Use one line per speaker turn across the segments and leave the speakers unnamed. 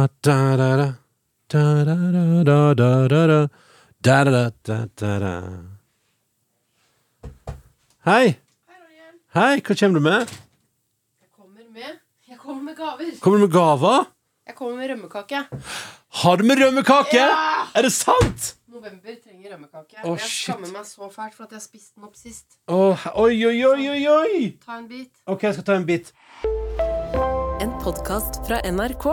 Ba-da-da-da-da. Da-da-da-da-da-da. Da-da-da-da-da-da. Hei! Hei, hva kommer du med?
Jeg kommer med Jeg kommer med gaver.
Kommer du med gaver?
Jeg kommer med rømmekake.
Har du med rømmekake?
Ja!
Er det sant?
November trenger rømmekake.
Å,
jeg
shit.
skammer meg så fælt for at jeg spiste den opp sist.
Åh, oi, oi, oi, oi, oi!
Ta en bit.
Ok, jeg skal ta en bit.
En podkast fra NRK.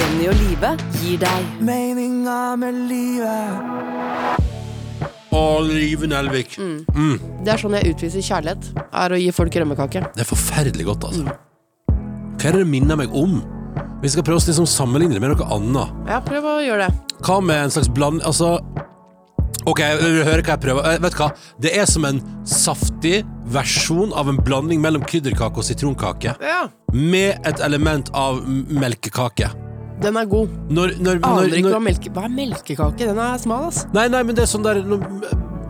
Ronny og Live gir deg
Meninga med livet
Å, Liven Elvik.
Det er sånn jeg utviser kjærlighet. Er å gi folk rømmekake.
Det er forferdelig godt, altså. Hva er det det minner meg om? Vi skal prøve å liksom sammenligne det med noe annet.
Ja, prøv å gjøre det.
Hva med en slags bland... Altså Ok, jeg vil høre hva jeg prøver. Eh, Vet du hva? Det er som en saftig versjon av en blanding mellom krydderkake og sitronkake.
Ja.
Med et element av m- melkekake.
Den er god.
Når, når,
Aner
Ah, når,
ikke hva
når
melke... Hva er melkekake? Den er smal, ass.
Nei, nei, men det er sånn der når,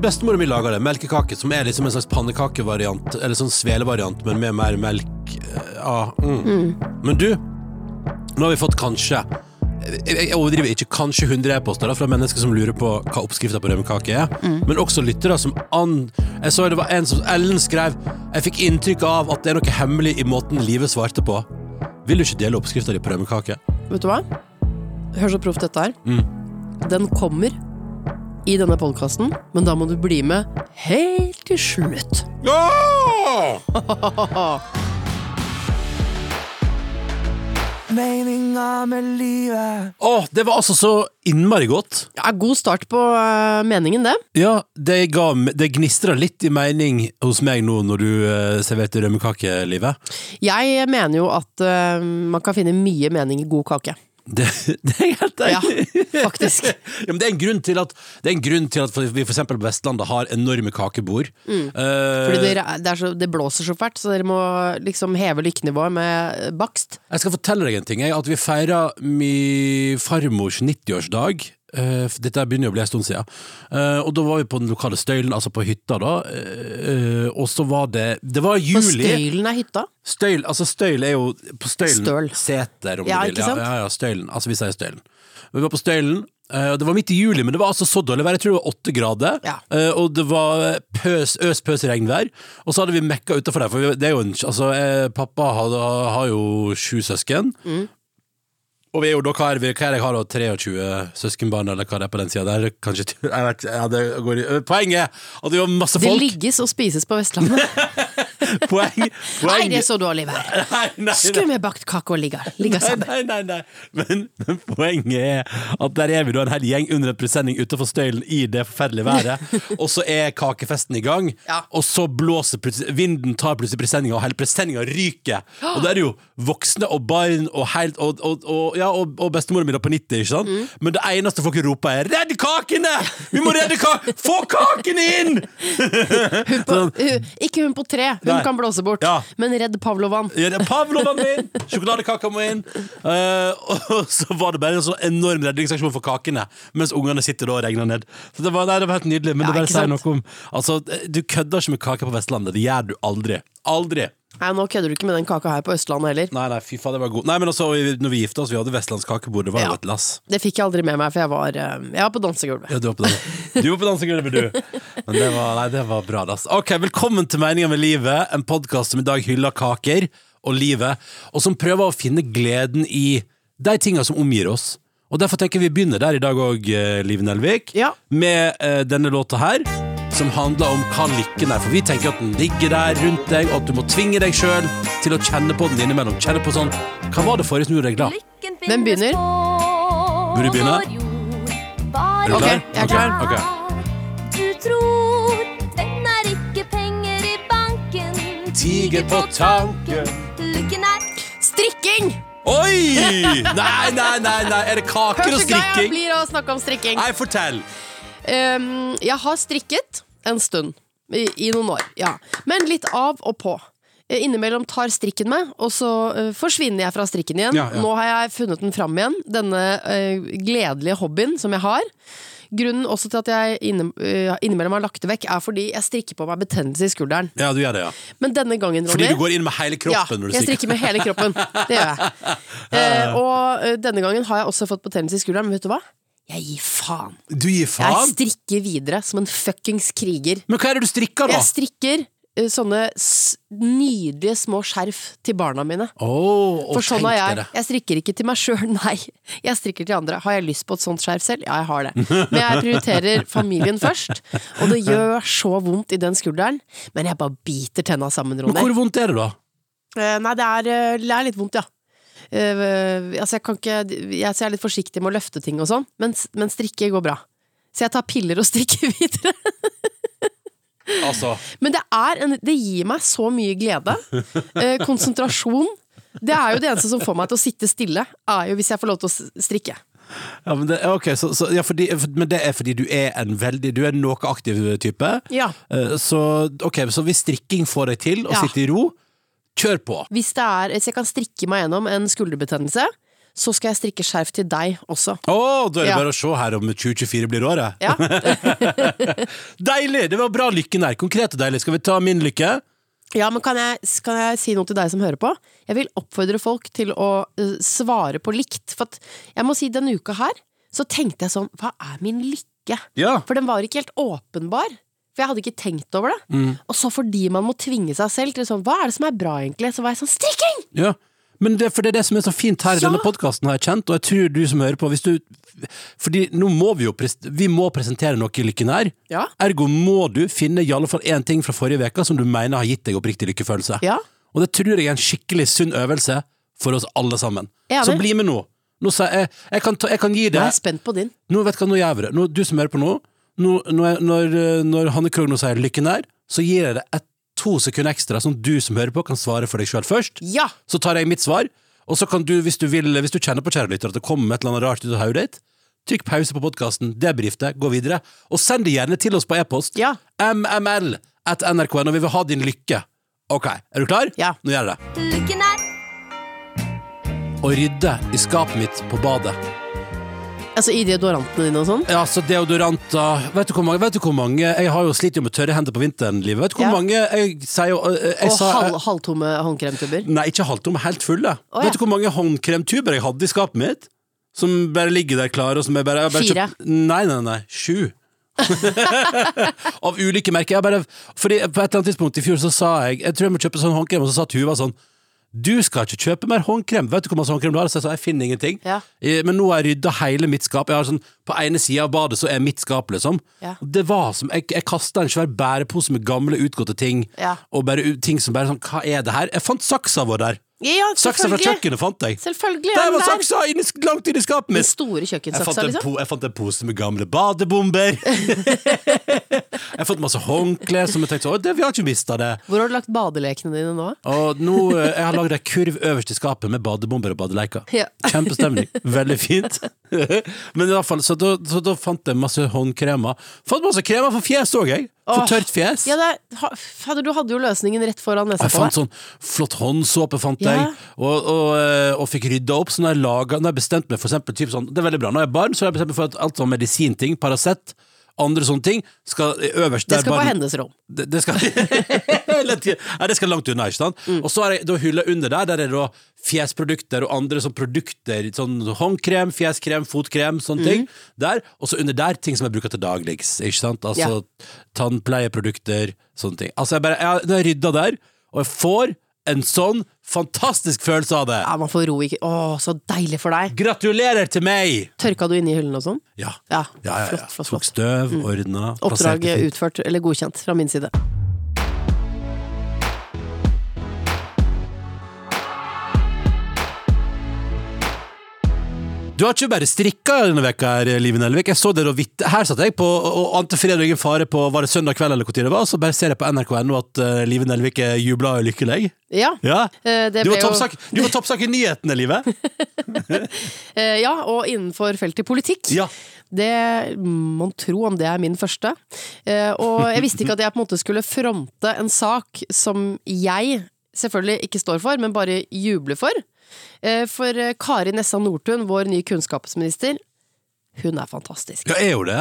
Bestemora mi lager det. Melkekake, som er liksom en slags pannekakevariant. Eller sånn svelevariant, men med mer melk. eh, Ja, mm. Men du, nå har vi fått kanskje jeg jeg overdriver ikke kanskje 100 e-poster da, fra mennesker som lurer på hva oppskrifta på rømmekake er, men også lyttere som an... Jeg så det var en som Ellen skrev Jeg fikk inntrykk av at det er noe hemmelig i måten livet svarte på. Vil du ikke dele oppskrifta di på rømmekake?
Vet du hva? Hør så proft dette er. Den kommer i denne podkasten, men da må du bli med helt til slutt.
Meninga med livet
Åh, det var altså så innmari godt.
Ja, god start på eh, meningen, det.
Ja, det, ga, m- det gnistrer litt i mening hos meg nå når du eh, serverte rømmekake, Live.
Jeg mener jo at eh, man kan finne mye mening i god kake.
Det, det er helt
Ja,
enig.
faktisk.
Ja, men det er en grunn til at, det er en grunn til at vi for eksempel på Vestlandet har enorme kakebord. Eh,
Mm. Fordi det, er- det, er så, det blåser så fælt, så dere må liksom heve lykkenivået med eh, bakst.
Jeg skal fortelle deg en ting. Jeg, at vi feira min farmors 90-årsdag. Eh, for dette begynner jo å bli en stund siden. Eh, og da var vi på den lokale støylen, altså på hytta, da. Eh, eh, og så var det Det var
For
juli.
støylen er hytta.
Støyl, altså støyl er jo på støylen
Støl.
Seter, om
Ja,
du vil.
ikke sant?
Ja, ja, ja, støylen. Altså, vi sier støylen. Vi var på støylen. eh, og Det var midt i juli, men det var altså så dårlig vær. Jeg tror det var åtte grader.
Ja.
eh, Og det var pøs, øs pøs regnvær. Og så hadde vi mekka utafor der, for vi- det er jo en Altså, eh, pappa har, har jo sju søsken.
Mm.
Og vi er jo da, hva er, vi, hva er det jeg har da, 23 søskenbarn, eller hva det er på den sida der? Kanskje, jeg vet, ja, det går, i- poenget er at vi var masse
Det
folk!
ligges og spises på Vestlandet.
Poeng,
Nei,
poeng.
det er så dårlig vær.
Nei, nei, nei.
Skulle vi bakt kake og ligge,
Nei,
ligge sammen?
nei, nei, nei. Men, men poenget er at der er vi da en hel gjeng under en presenning utenfor støylen i det forferdelige været, og så er kakefesten i gang,
Ja.
og så blåser plutselig Vinden tar plutselig presenninga, og hele presenninga ryker. Og da er det jo voksne og barn og helt Og, og, og, ja, og, og bestemoren min er på 90, ikke sant? Men det eneste folk roper, er 'redd kakene'! Vi må redde kakene! Få kakene inn! Sånn,
Hun- Ikke hun på tre, hun
Nei.
kan blåse bort.
Ja.
Men redd Pavlovan.
Ja, det- Pavlovaen min! Sjokoladekaka må inn! Eh, og så var det bare en sånn enorm redningsaksjon for kakene, mens ungene sitter da og regner ned. Så det var, nei, det var helt nydelig. Men
Ja,
det bare
ikke
sier
sant?
noe om Altså, du kødder ikke med kake på Vestlandet. Det gjør du aldri. Aldri!
Nei, nå kødder du ikke med den kaka her på Østlandet heller.
Nei, nei, fy faen, det var god. Nei, men altså, vi- når vi gifta oss, vi hadde vestlandskakebord. Det var jo
Ja.
et lass.
Det fikk jeg aldri med meg, for jeg var, eh, jeg var på dansegulvet.
Ja, du var på dans- du var på dansegulvet, du. Men det var, nei, det var bra, dass. Ok, velkommen til Meningen med livet, en podkast som i dag hyller kaker og livet, og som prøver å finne gleden i de tinga som omgir oss. Og derfor tenker vi begynner der i dag òg, Liv Nelvik,
Ja.
med eh, denne låta her. Som handler om hva lykken er, for vi tenker at den ligger der rundt deg, og at du må tvinge deg sjøl til å kjenne på den innimellom. Kjenne på sånn Hva var det forrige som gjorde deg glad?
Ah. Hvem begynner?
Vil
du begynne?
Bare
Ok, jeg er klar.
Ok.
Du tror den er ikke penger i banken.
Tiger på tanken.
Lykken er
Strikking!
Oi! Nei, nei, nei, nei. er det kaker
Hør
og
så glad jeg
strikking?
blir av å snakke om strikking.
Nei, fortell!
Ehm, jeg har strikket en stund. I, I noen år, ja. Men litt av og på. Eh, Innimellom tar strikken meg, og så eh, forsvinner jeg fra strikken igjen.
Ja, ja.
Nå har jeg funnet den fram igjen, denne eh, gledelige hobbyen som jeg har. Grunnen også til at jeg inne, eh, innimellom har lagt det vekk, er fordi jeg strikker på meg betennelse i skulderen.
Ja, du gjør det, ja.
Men denne gangen, Ronny
Fordi du går inn med hele kroppen
ja,
når du
jeg
stikker.
strikker med hele kroppen. Det gjør jeg. Eh, og eh, denne gangen har jeg også fått betennelse i skulderen, men vet du hva? Jeg gir faen.
Du gir
Jeg
faen?
strikker videre som en fuckings kriger.
Men hva er det du strikker, da?
Jeg strikker eh, sånne s nydelige små skjerf til barna mine.
Åh,
For sånn
tenk
er
dere.
jeg. Jeg strikker ikke til meg sjøl, nei. Jeg strikker til andre. Har jeg lyst på et sånt skjerf selv? Ja, jeg har det. Men jeg prioriterer familien først. Og det gjør så vondt i den skulderen, men jeg bare biter tenna sammen,
Men
Ronny.
hvor vondt er det, da?
Eh, Nei, det er, eh, det er litt vondt, ja. Eh, altså, jeg kan ikke jeg, så jeg er litt forsiktig med å løfte ting og sånn, men, men strikke går bra. Så jeg tar piller og strikker videre.
Altså,
Men det, er en, det gir meg så mye glede. Eh, konsentrasjon. Det er jo det eneste som får meg til å sitte stille, er jo hvis jeg får lov til å s- strikke.
ja, men, det, ok, så, så, ja, fordi, men det er fordi du er en veldig Du er en noe aktiv type.
Ja.
Eh, Så, ok, så hvis strikking får deg til å
Ja.
sitte i ro, kjør på.
Hvis, det er, hvis jeg kan strikke meg gjennom en skulderbetennelse, så skal jeg strikke skjerf til deg også.
Å, da er det
Ja.
bare å se her om 2024 blir året.
Ja.
Deilig! Det var bra lykken der. Konkret og deilig. Skal vi ta min lykke?
Ja, men kan jeg, kan jeg si noe til deg som hører på? Jeg vil oppfordre folk til å eh, svare på likt. For at jeg må si denne uka her, så tenkte jeg sånn, hva er min lykke?
Ja.
For den var ikke helt åpenbar. For jeg hadde ikke tenkt over det.
Mm.
Og så fordi man må tvinge seg selv til sånn, hva er det som er bra egentlig? Så var jeg sånn, strikking!
ja. Men det, for det er det som er så fint her i
Ja.
denne podkasten, har jeg kjent, og jeg tror du som hører på hvis du, Fordi nå må vi jo pres vi må presentere noe i lykken her.
Ja.
Ergo må du finne i alle fall én ting fra forrige uke som du mener har gitt deg oppriktig lykkefølelse.
Ja.
Og det tror jeg er en skikkelig sunn øvelse for oss alle sammen.
Enig.
Så bli med nå. nå sier jeg, jeg, kan ta, jeg kan gi
Nå
det
er jeg spent på din.
Nå vet du hva, nå gjør vi det. Nå, du som hører på nå, nå når, når, når Hanne Krogh nå sier lykken er, så gir jeg det et, to sekunder ekstra, sånn at du som hører på kan svare for deg sjøl først.
Ja!
Så tar jeg mitt svar, og så kan du, hvis du, vil, hvis du kjenner på kjære lytter at det kommer et eller annet rart ut av hodet ditt, trykk pause på podkasten, debrif det, gå videre, og send det gjerne til oss på e-post.
Ja.
MML at nrk.no. Vi vil ha din lykke. Ok, er du klar?
Ja.
Nå gjør jeg det.
Lykken er
Å rydde i skapet mitt på badet.
Altså, i deodorantene dine og sånn.
Ja, så deodoranter Vet du hvor mange, vet du hvor mange Jeg har jo slitt jo med tørre hender på vinteren livet. Vet du hvor
Ja.
mange jeg sier jo eh, jeg,
Og
sa,
halv, halvtomme håndkremtubber.
Nei, ikke halvtomme, helt fulle.
Å, ja.
Vet du hvor mange håndkremtuber jeg hadde i skapet mitt? Som bare ligger der klare, og som jeg bare, jeg bare
Fire.
kjøpt- Nei, nei, nei. Sju. Av ulike merker. Jeg bare, fordi på et eller annet tidspunkt i fjor så sa jeg Jeg tror jeg må kjøpe sånn håndkrem, og så sa Tuva sånn du skal ikke kjøpe mer håndkrem. Vet du hvor masse håndkrem du har? Så jeg sa jeg finner ingenting.
Ja.
Eh, Men nå har jeg rydda hele mitt skap. Jeg har sånn, på ene sida av badet så er mitt skap, liksom.
Ja.
Og Det var som Jeg, jeg kasta en svær bærepose med gamle, utgåtte ting.
Ja.
Og bare u- ting som bare sånn Hva er det her? Jeg fant saksa vår der!
Ja,
Saksa fra
selvfølgelig.
kjøkkenet fant jeg!
Selvfølgelig.
Der
er den
var saksa! Inni, langt inni skapet
Den
mitt!
store
Jeg fant,
kjøkkensaksa,
en
liksom.
po jeg fant en pose med gamle badebomber. jeg fant masse håndklær som jeg tenkte sånn, «Å, det, vi har ikke mista det.
Hvor har du lagt badelekene dine nå?
Og nå eh, jeg har lagd ei kurv øverst i skapet med badebomber og badeleker.
Ja.
Kjempestemning. Veldig fint. Men i alle fall, så da, så da fant jeg masse håndkremer. Fant masse kremer for fjes òg, jeg. For
Åh.
tørt fjes.
Ja, det er, ha- fader, du hadde jo løsningen rett foran nesa
Jeg
på
fant
deg.
sånn flott håndsåpe, fant
Ja.
jeg, og, og, eh, og fikk rydda opp. Så når jeg laga, når jeg bestemte meg for eksempel, typ sånn, Det er veldig bra. Når jeg er barn, så har jeg bestemt meg for at alt sånn medisinting, Paracet, andre sånne ting, skal øverst
Det
der
skal på
barn-
hennes rom.
det, det skal Hele tiden. Nei, det skal langt unna, ikke sant?
Mm.
Og så har jeg da hylla under der, der er det da fjesprodukter og andre sånn produkter. Sånn håndkrem, fjeskrem, fotkrem,
Mm.
sånne ting. Der, Og så under der ting som jeg bruker til dagligst. Ikke sant? Altså tannpleieprodukter, sånne ting. Altså, jeg bare jeg, Når jeg rydda der, og jeg får en sånn fantastisk følelse av det
Ja, man får ro i Å, så deilig for deg.
Gratulerer til meg!
Tørka du inne i hyllen og sånn?
Ja.
Ja,
Ja, ja, ja.
flott,
Tok
flott, flott. Mm.
støv, ordna,
Oppdrag
plasserte fint.
utført, eller godkjent, fra min side.
Du har ikke bare strikka denne veka her, Liv Nelvik. Jeg så det da vidt. Her satt jeg på, og ante fredagen fare på var det søndag kveld eller hvor tid det var, og så bare ser jeg på nrk.no at uh, Liv Nelvik er jubla og lykkelig.
Ja.
Ja.
eh, det
Du
ble
var
jo-
toppsak, du var toppsak i nyhetene, Live.
eh, Ja, og innenfor feltet politikk.
Ja.
Det Mon tro om det er min første. Eh, og jeg visste ikke at jeg på en måte skulle fronte en sak som jeg selvfølgelig ikke står for, men bare jubler for. Eh, for eh, Kari Nessa Nordtun, vår nye kunnskapsminister, Hun er fantastisk.
Ja, er jo det?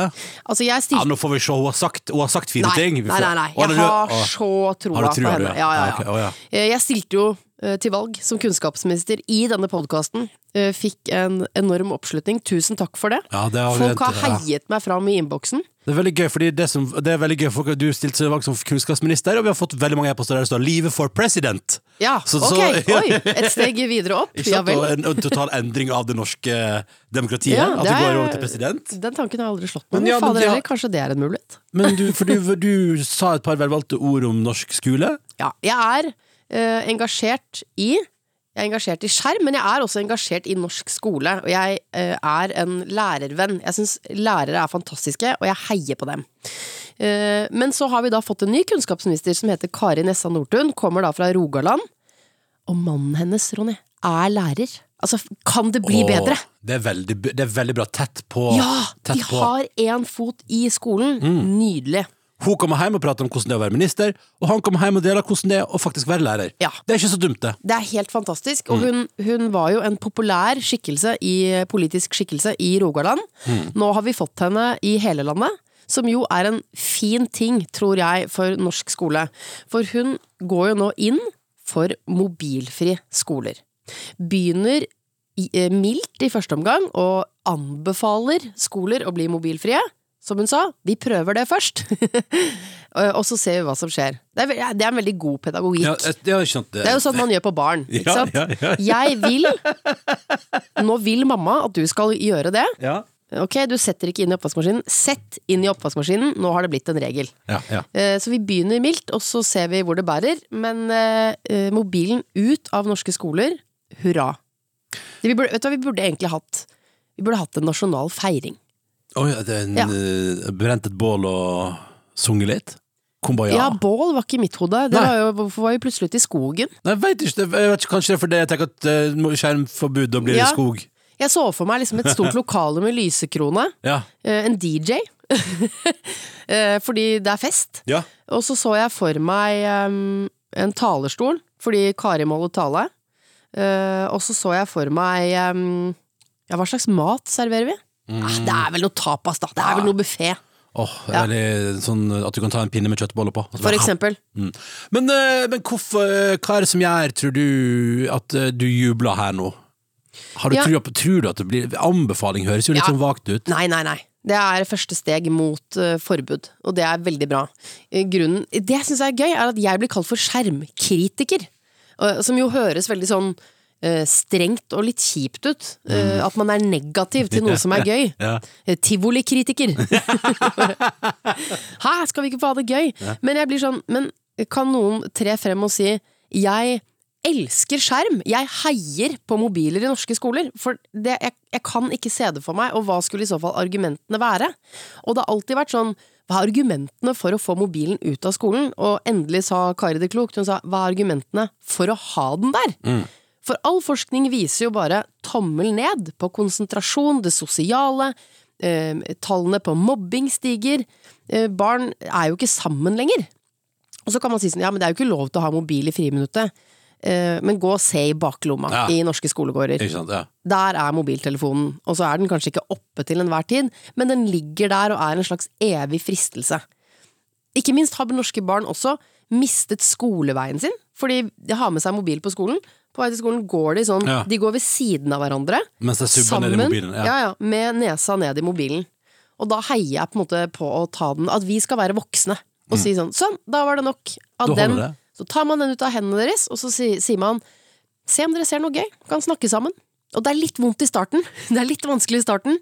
Altså, jeg
Ja,
stilte
Nå får vi se. Hun har sagt, hun har sagt fine
Nei,
ting. Vi
nei,
får-
nei, nei.
Å,
Jeg
du-
har
å.
så
Har du
troa på
trua, du,
henne. Ja, ja,
Ja, ok,
ja.
å, ja.
Eh, Jeg stilte jo eh, til valg som kunnskapsminister i denne podkasten. Fikk en enorm oppslutning. Tusen takk for det.
Ja, det har vi
Folk har
ventet, ja.
heiet meg fram i innboksen.
Det er veldig gøy, fordi det, som, det er veldig gøy for du stilte seg valg som kunnskapsminister, og vi har fått veldig mange e-poster der det står 'Livet for president'.
Ja,
Så- så-
ok! Oi! Et steg videre opp.
Ikke
Ja
sant?
vel.
Og en, en total endring av det norske eh, demokratiet.
Ja,
at
det
du
er-
går over til president.
Den tanken har aldri slått meg.
Men
Men
ja, men
fader
de har-
heller, kanskje det er en mulighet.
Men du, for du, du sa et par velvalgte ord om norsk skole.
Ja, jeg er eh, engasjert i jeg er engasjert i skjerm, men jeg er også engasjert i norsk skole. Og jeg eh, er en lærervenn. Jeg syns lærere er fantastiske, og jeg heier på dem. Eh, men så har vi da fått en ny kunnskapsminister som heter Kari Nessa Nordtun. Kommer da fra Rogaland. Og mannen hennes, Ronny, er lærer. Altså, kan det bli
Og
bedre?
Det er, veldig, det er veldig bra. Tett på.
Ja!
tett
De
på. Mm.
har én fot i skolen. Nydelig.
Hun kommer hjem og prater om hvordan det er å være minister, og han kommer hjem og deler hvordan det er å faktisk være lærer.
Ja.
Det er ikke så dumt, det.
Det er helt fantastisk. Og hun, hun var jo en populær skikkelse i, politisk skikkelse i Rogaland. Nå har vi fått henne i hele landet. Som jo er en fin ting, tror jeg, for norsk skole. For hun går jo nå inn for mobilfri skoler. Begynner i- eh, mildt i første omgang og anbefaler skoler å bli mobilfrie. Som hun sa, vi prøver det først. og så ser vi hva som skjer. Det er, ve- det er en veldig god pedagogikk.
Ja, et- ja, ikke sant, det.
Det er jo sånn man gjør på barn. Ikke
Ja,
sant?
ja, ja,
Jeg vil Nå vil mamma at du skal gjøre det.
ja.
Ok, du setter ikke inn i oppvaskmaskinen. Sett inn i oppvaskmaskinen. Nå har det blitt en regel.
Ja, ja.
Eh, Så vi begynner mildt, og så ser vi hvor det bærer. Men eh, eh, mobilen ut av norske skoler, hurra. Det Vi burde, vet du hva vi burde egentlig hatt? Vi burde hatt en nasjonal feiring.
Oi, det er en,
Ja.
eh, brent et bål og sunget litt? Kumbaya?
Ja, bål var ikke i mitt hode. Det
Nei.
var jo, hvorfor var vi plutselig ute i skogen?
Nei, jeg vet ikke, det- jeg vet ikke, kanskje det er fordi jeg tenker at eh, må- skjermforbud, da blir det
Ja.
skog.
Jeg så for meg liksom et stort lokale med lysekrone.
Ja.
Eh, en DJ. Eh, fordi det er fest.
ja.
Og så så jeg for meg em, en talerstol, fordi Kari måtte tale. Eh, og så så jeg for meg em, Ja, hva slags mat serverer vi? Ah, det er vel noe tapas, da. Det er vel noe buffé,
Åh,
Ja.
eller sånn at du kan ta en pinne med kjøttboller på.
for eksempel.
Men, eh, men hvorfor, eh, hva er det som gjør, tror du, at eh, du jubler her nå? Har du
Ja.
trua på, tror du at det blir Anbefaling høres jo litt
Ja.
sånn vagt ut.
Nei, nei, nei. Det er første steg mot eh, forbud, og det er veldig bra. Eh, Grunnen, det jeg syns er gøy, er at jeg blir kalt for skjermkritiker. eh, som jo høres veldig sånn eh, strengt og litt kjipt ut. eh, at man er negativ til noe som er gøy.
Mm. Ja.
Eh, Tivolikritiker! Hæ, skal vi ikke få ha det gøy? Men jeg blir sånn, men kan noen tre frem og si Jeg elsker skjerm! Jeg heier på mobiler i norske skoler! For det, jeg, jeg kan ikke se det for meg, og hva skulle i så fall argumentene være? Og det har alltid vært sånn hva er argumentene for å få mobilen ut av skolen? Og endelig sa Kari det klokt, hun sa hva er argumentene for å ha den der? For all forskning viser jo bare tommel ned på konsentrasjon, det sosiale, eh, tallene på mobbing stiger. Eh, barn er jo ikke sammen lenger. Og så kan man si sånn, ja, men det er jo ikke lov til å ha mobil i friminuttet. Eh, men gå og se i baklomma
Ja.
i norske skolegårder.
Ikke sant, ja.
Der er mobiltelefonen, og så er den kanskje ikke oppe til enhver tid, men den ligger der og er en slags evig fristelse. Ikke minst har norske barn også mistet skoleveien sin, fordi de har med seg mobil på skolen. På vei til skolen går de sånn,
Ja.
de går ved siden av hverandre,
Mens jeg subber
sammen,
ned i mobilen.
ja.
Ja.
Ja, med nesa ned i mobilen. Og da heier jeg på en måte på å ta den, at vi skal være voksne, og si sånn, sånn, da var det nok av
Da Mm. holder
den.
det.
Så tar man den ut av hendene deres, og så si- sier man Se om dere ser noe gøy, kan snakke sammen. Og det er litt vondt i starten, det er litt vanskelig i starten,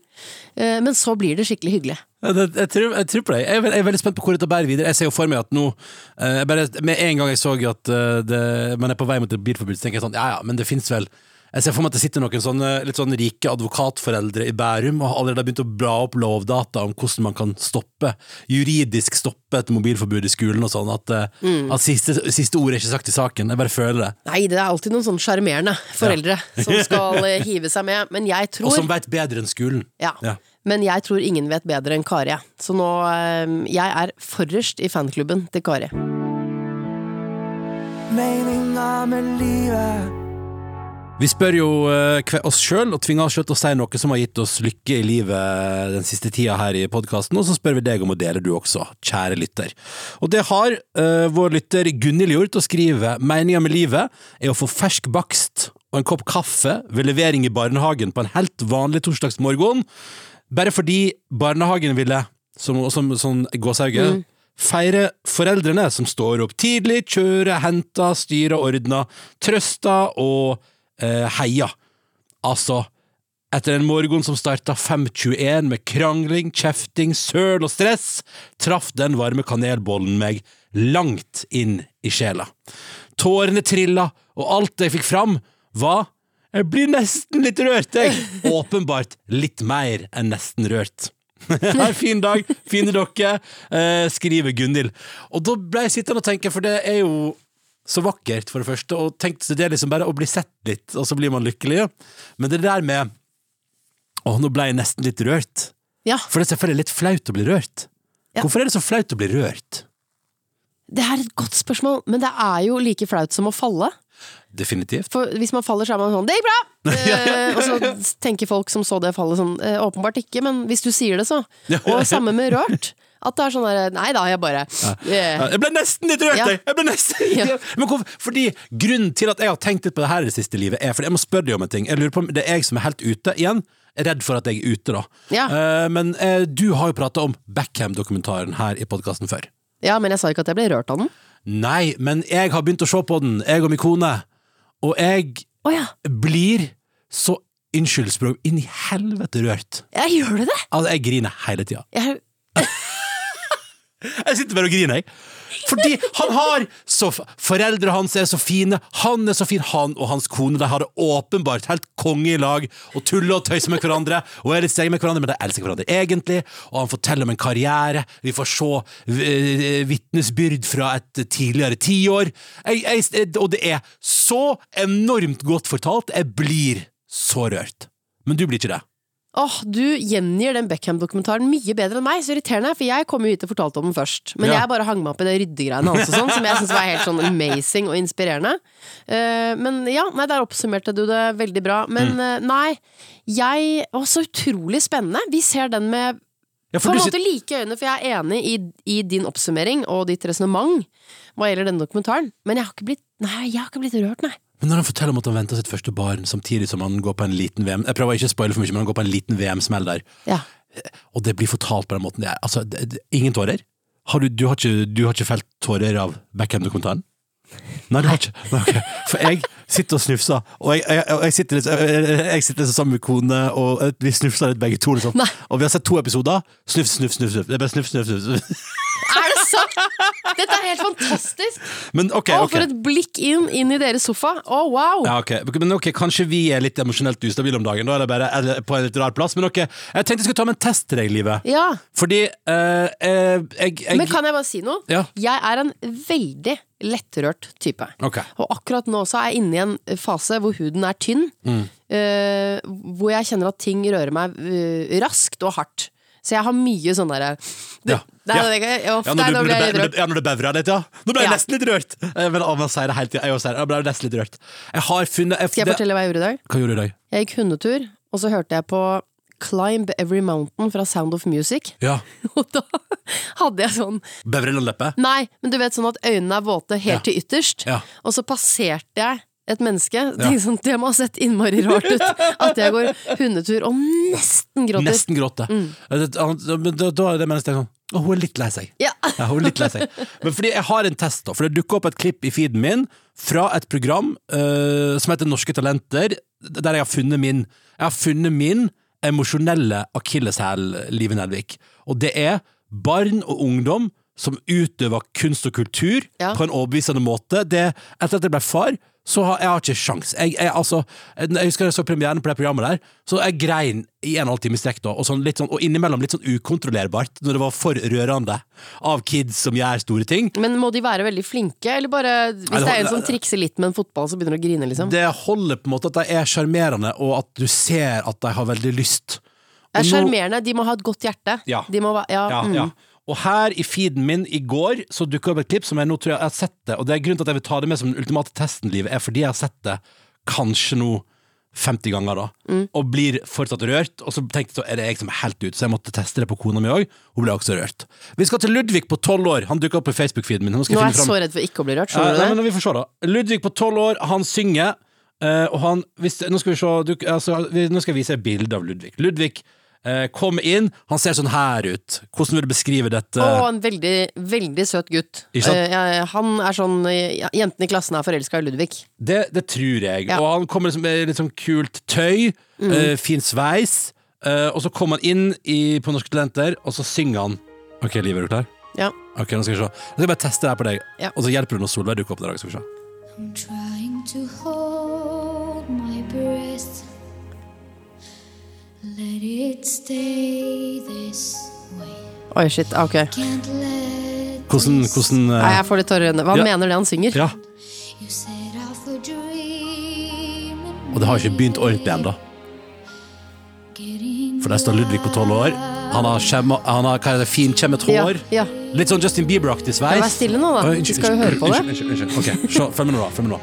eh, men så blir det skikkelig hyggelig.
Ja, det- Jeg tror, jeg tror på deg. Jeg er, veld- jeg er veldig spent på hvor dette bærer videre. Jeg ser jo for meg at nå eh, jeg bare, Med en gang jeg så at eh, det, man er på vei mot et bilforbud, så tenker jeg sånn Ja ja, men det fins vel Jeg ser for meg at det sitter noen sånne litt sånn rike advokatforeldre i Bærum og har allerede begynt å bla opp lovdata om hvordan man kan stoppe, juridisk stoppe et mobilforbud i skolen og sånn. At, eh, at siste, siste ord er ikke sagt i saken. Jeg bare føler det.
Nei, det er alltid noen sånn sjarmerende foreldre som skal eh, hive seg med, men jeg
Og
tror
som veit bedre enn skolen.
Ja.
Ja.
Men jeg tror ingen vet bedre enn Kari. jeg. Så nå eh, Jeg er forrest i fanklubben til Kari.
meninga med livet.
Vi spør jo eh, kve- oss sjøl og tvinger oss sjøl til å si noe som har gitt oss lykke i livet eh, den siste tida her i podkasten, og så spør vi deg om å dele du også, kjære lytter. Og det har eh, vår lytter Gunhild gjort, og skriver meninga med livet er å få fersk bakst og en kopp kaffe ved levering i barnehagen på en helt vanlig torsdagsmorgen, bare fordi barnehagen ville, som, som sånn gåsehauge, Feire foreldrene som står opp tidlig, kjører, henter, styrer, ordner, trøster og eh, heia. Altså, etter en morgen som starta 5.21 med krangling, kjefting, søl og stress, traff den varme kanelbollen meg langt inn i sjela. Tårene trilla, og alt jeg fikk fram, var Jeg blir nesten litt rørt, jeg! Åpenbart litt mer enn nesten rørt. Ha en fin dag, fine dere, eh, skriver Gunhild. Og da ble jeg sittende og tenke, for det er jo så vakkert, for det første, og tenkte det er liksom bare å bli sett litt, og så blir man lykkelig. Men det der med Å, nå ble jeg nesten litt rørt.
Ja,
For det er selvfølgelig litt flaut å bli rørt.
Ja.
Hvorfor er det så flaut å bli rørt?
det er et godt spørsmål, men det er jo like flaut som å falle.
Definitivt.
For hvis man faller, så er man sånn 'det gikk bra'! Eh, og så tenker folk som så det fallet sånn eh, åpenbart ikke, men hvis du sier det, så.
Ja.
Og samme med rørt. At det er sånn derre nei da, jeg bare eh,
Ja, Jeg ble nesten litt rørt,
Ja.
jeg! jeg ble nesten litt
Ja.
rørt. Men hvorfor? Fordi Grunnen til at jeg har tenkt litt på det her i det siste livet, er fordi jeg må spørre deg om en ting. Jeg lurer på om Det er jeg som er helt ute. Igjen, jeg er redd for at jeg er ute, da.
Ja.
Eh, men eh, du har jo prata om Backham-dokumentaren her i podkasten før.
Ja, men jeg sa ikke at jeg ble rørt av den.
Nei, men jeg har begynt å se på den, jeg og min kone. Og jeg
Å ja.
blir så Unnskyld språk, inn i helvete rørt.
Jeg gjør det!
Altså, jeg griner hele tida.
Jeg,
Jeg sitter bare og griner, jeg. Fordi han har så f- Foreldre hans er så fine, han er så fin, han og hans kone. De har det åpenbart helt konge i lag og tuller og tøyser med hverandre. Og er litt strenge med hverandre, men de elsker hverandre egentlig. Og han forteller om en karriere. Vi får se eh, vitnesbyrd fra et tidligere tiår. Jeg, jeg, og det er så enormt godt fortalt. Jeg blir så rørt. Men du blir ikke det.
Åh, du gjengir den Beckham-dokumentaren mye bedre enn meg, så irriterende, for jeg kom jo hit og fortalte om den først. Men
Ja.
jeg bare hang meg opp i det ryddegreiene hans og sånn, som jeg syntes var helt sånn amazing og inspirerende. Eh, men ja, nei, der oppsummerte du det veldig bra. Men
Mm.
eh, nei, jeg Å, så utrolig spennende! Vi ser den med
Ja,
på
for
en
du
måte
sit-
like øyne, for jeg er enig i, i din oppsummering og ditt resonnement hva gjelder denne dokumentaren, men jeg har ikke blitt Nei, jeg har ikke blitt rørt, nei.
Men når han forteller om at han venter sitt første barn samtidig som han går på en liten VM Jeg prøver ikke å spoile for mye, men han går på en liten VM-smell der.
Ja.
Og det blir fortalt på den måten det er. Altså, det, det, ingen tårer? Har du, du, har ikke, du har ikke felt tårer av Beckham-dokumentaren? Nei, du har ikke. Nei, ok. For jeg sitter og snufser, og jeg, jeg, jeg, sitter, litt, jeg, jeg sitter litt sammen med kone, og eh, vi snufser litt begge to. Liksom.
Nei.
Og vi har sett to episoder. Snufs, snufs, snufs. snufs. Det er bare snufs, snufs, snufs.
Er det sant?! Dette er helt fantastisk!
Men ok,
Å,
ok.
for et blikk inn, inn i deres sofa. Å, wow!
Ja, ok. Men ok, Kanskje vi er litt emosjonelt ustabile om dagen. Da er det bare eller, på en litt rar plass. Men ok, jeg tenkte jeg skulle ta med en test til deg, Livet.
Ja.
Fordi eh, eh, jeg, jeg
Men kan jeg bare si noe?
Ja.
Jeg er en veldig lettrørt type.
Ok.
Og akkurat nå så er jeg inne i en fase hvor huden er tynn.
Mm.
eh, hvor jeg kjenner at ting rører meg eh, raskt og hardt. Så jeg har mye sånn derre
Ja.
Nei,
Ja.
nei, nei, uff,
Ja,
nei,
når du,
nå
når
ble jeg
du,
litt
når
rørt.
du, ja, når du bevra litt, ja. Nå ble jeg
Ja.
nesten litt rørt. Eh, Men av å si det hele tida. Jeg også sier det. Jeg ble nesten litt rørt. Jeg har funnet jeg,
Skal jeg
det-
fortelle hva jeg gjorde i dag?
Hva gjorde du i dag?
Jeg gikk hundetur, og så hørte jeg på Climb Every Mountain fra Sound of Music.
Ja.
Og da hadde jeg sånn
Bevra leppe?
Nei, men du vet sånn at øynene er våte helt
Ja.
til ytterst.
Ja.
Og så passerte jeg et menneske. Tenkte sånn, det må ha sett innmari rart ut. At jeg går hundetur og nesten gråter. Mm.
Nesten gråte. Eh, det- han- Men da, da er det mennesket sånn Å, hun er litt lei seg.
Ja.
Ja, hun er litt lei seg. Men fordi jeg har en test, da. For det dukker opp et klipp i feeden min fra et program eh, som heter Norske Talenter, der jeg har funnet min Jeg har funnet min emosjonelle akilleshæl, Live Nelvik. Og det er barn og ungdom som utøver kunst og kultur
Ja.
på en overbevisende måte. Det, etter at jeg ble far, så har jeg har ikke sjans. Jeg, jeg, altså, jeg husker jeg så premieren på det programmet der, så jeg grein i en og en halv time i strekk da, og, sånn, litt sånn, og innimellom litt sånn ukontrollerbart, når det var for rørende av kids som gjør store ting.
Men må de være veldig flinke, eller bare Hvis
Nei, det
det er
holder-
en som trikser litt med en fotball, så begynner de å grine, liksom?
Det holder på en måte at de er sjarmerende, og at du ser at de har veldig lyst.
Det er
Og nå-
sjarmerende. De må ha et godt hjerte.
Ja.
De må va- ja,
Ja,
mm.
ja. Og her i feeden min i går så dukket opp et klipp som jeg nå tror jeg har sett det, og det er grunnen til at jeg vil ta det med som den ultimate testen, livet, er fordi jeg har sett det kanskje nå 50 ganger, da.
Mm.
Og blir fortsatt rørt. Og så tenkte jeg så er det jeg som er helt ute, så jeg måtte teste det på kona mi òg. Hun ble også rørt. Vi skal til Ludvig på 12 år. Han dukka opp i Facebook-feeden min. Nå skal
Nå er
jeg
jeg
finne fram
så redd for ikke å bli rørt,
ja,
skjønner
nei,
du det?
men vi får se da Ludvig på 12 år, han synger eh, Og han, hvis, nå skal vi se du, altså, vi, Nå skal jeg vise et bilde av Ludvig Ludvig eh, kommer inn Han ser sånn her ut Hvordan vil du beskrive dette?
Og en veldig, veldig søt gutt.
Ikke sant?
Eh, ja, han er sånn ja, Jentene i klassen er forelska i Ludvig.
Det, det tror jeg
Ja. Mm.
Og han kommer liksom med litt sånn kult tøy eh, Fin sveis eh, Og så kommer han inn i, på Norske Talenter Og så synger han Ok, Liv, er du klar?
Ja.
Ok, nå skal vi se Nå skal jeg bare teste det her på deg
Ja.
Og så hjelper du når Solveig dukker opp i dag Skal vi se
I'm trying to hold my breath. Let it stay this way.
Oi, shit. ah, Ok.
Can't let
Hvordan,
this-
hvordan eh,
Nei, jeg får litt tårer i øynene. Hva
Ja.
mener det han synger?
Ja,
You set off a dream in
og det har ikke
me.
begynt ordentlig enda
Getting
For der står Ludvig på tolv år. Han har, skjemma, han har hva er det, finkjemmet
Ja,
hår.
ja.
Litt sånn Justin Bieber-aktig sveis.
Ja, vær stille nå, da.
Oi, unnskyld,
Vi skal jo
unnskyld,
høre på det.
Unnskyld, unnskyld, unnskyld. Ok, se, følg med nå, da. Følg med nå.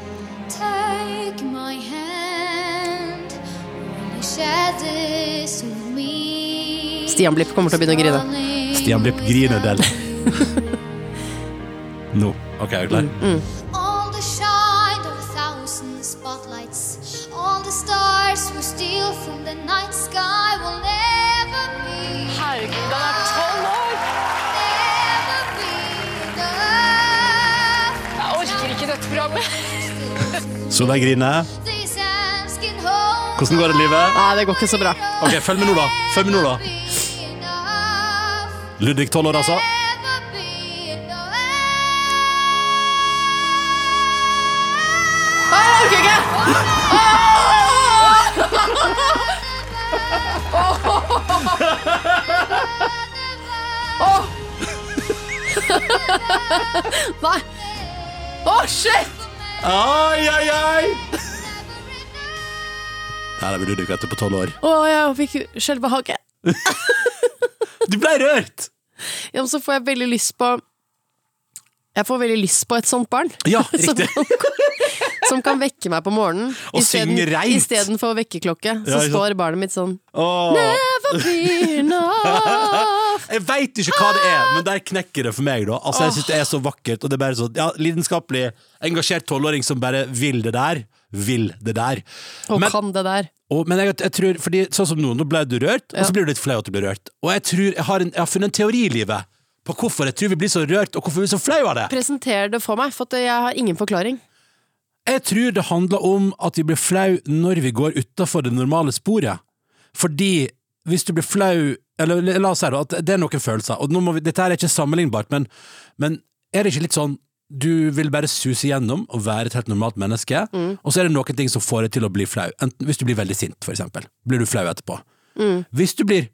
Take my hand. Really share this with me.
Stian Blipp kommer til å begynne å grine.
Stian Blipp griner del. Nå. Ok, er du klar?
Mm,
All the shine of a thousand spotlights. All the stars we steal from the night sky will never be. Herregud, han er tolv år! Never be enough.
Jeg orker ikke dette programmet.
mm.
Solveig griner.
These hands can hold
Hvordan går det, livet?
Nei, det går ikke så bra.
Ok, følg med nå, da. Følg med nå, da.
be enough.
Ludvig tolv år, altså.
Never be enough.
Nei, jeg orker ikke! Åh! Nei. Å, shit!
Ai, ai, ai! Ja, det blir Ludvig vet du, på tolv år.
Å, jeg fikk skjelvehage.
Du ble rørt!
Ja, men så får jeg veldig lyst på Jeg får veldig lyst på et sånt barn.
Ja, riktig.
Som, som kan vekke meg på morgenen.
Og
isteden-
synge reint.
Istedenfor vekkerklokke, så
Ja, ikke sant?
står barnet mitt sånn
Åh.
Never be enough.
Jeg veit ikke hva det er, men der knekker det for meg. da Altså Jeg synes det er så vakkert. Og det er bare sånn ja, Lidenskapelig engasjert tolvåring som bare vil det der. Vil det der.
Og
Men,
kan det der.
og, men jeg, jeg tror Fordi sånn som nå, nå ble du rørt, og
Ja.
så blir du litt flau at du blir rørt. Og jeg tror jeg har, en, jeg har funnet en teori i livet på hvorfor jeg tror vi blir så rørt, og hvorfor vi er så flau av det.
Presenter det for meg, for at jeg har ingen forklaring.
Jeg tror det handler om at vi blir flau når vi går utafor det normale sporet. Fordi hvis du blir flau Eller la oss si da, at det er noen følelser. Og nå må vi, dette her er ikke sammenlignbart, men, men er det ikke litt sånn du vil bare suse gjennom og være et helt normalt menneske, og så er det noen ting som får deg til å bli flau. Enten hvis du blir veldig sint, for eksempel. Blir du flau etterpå. Hvis du blir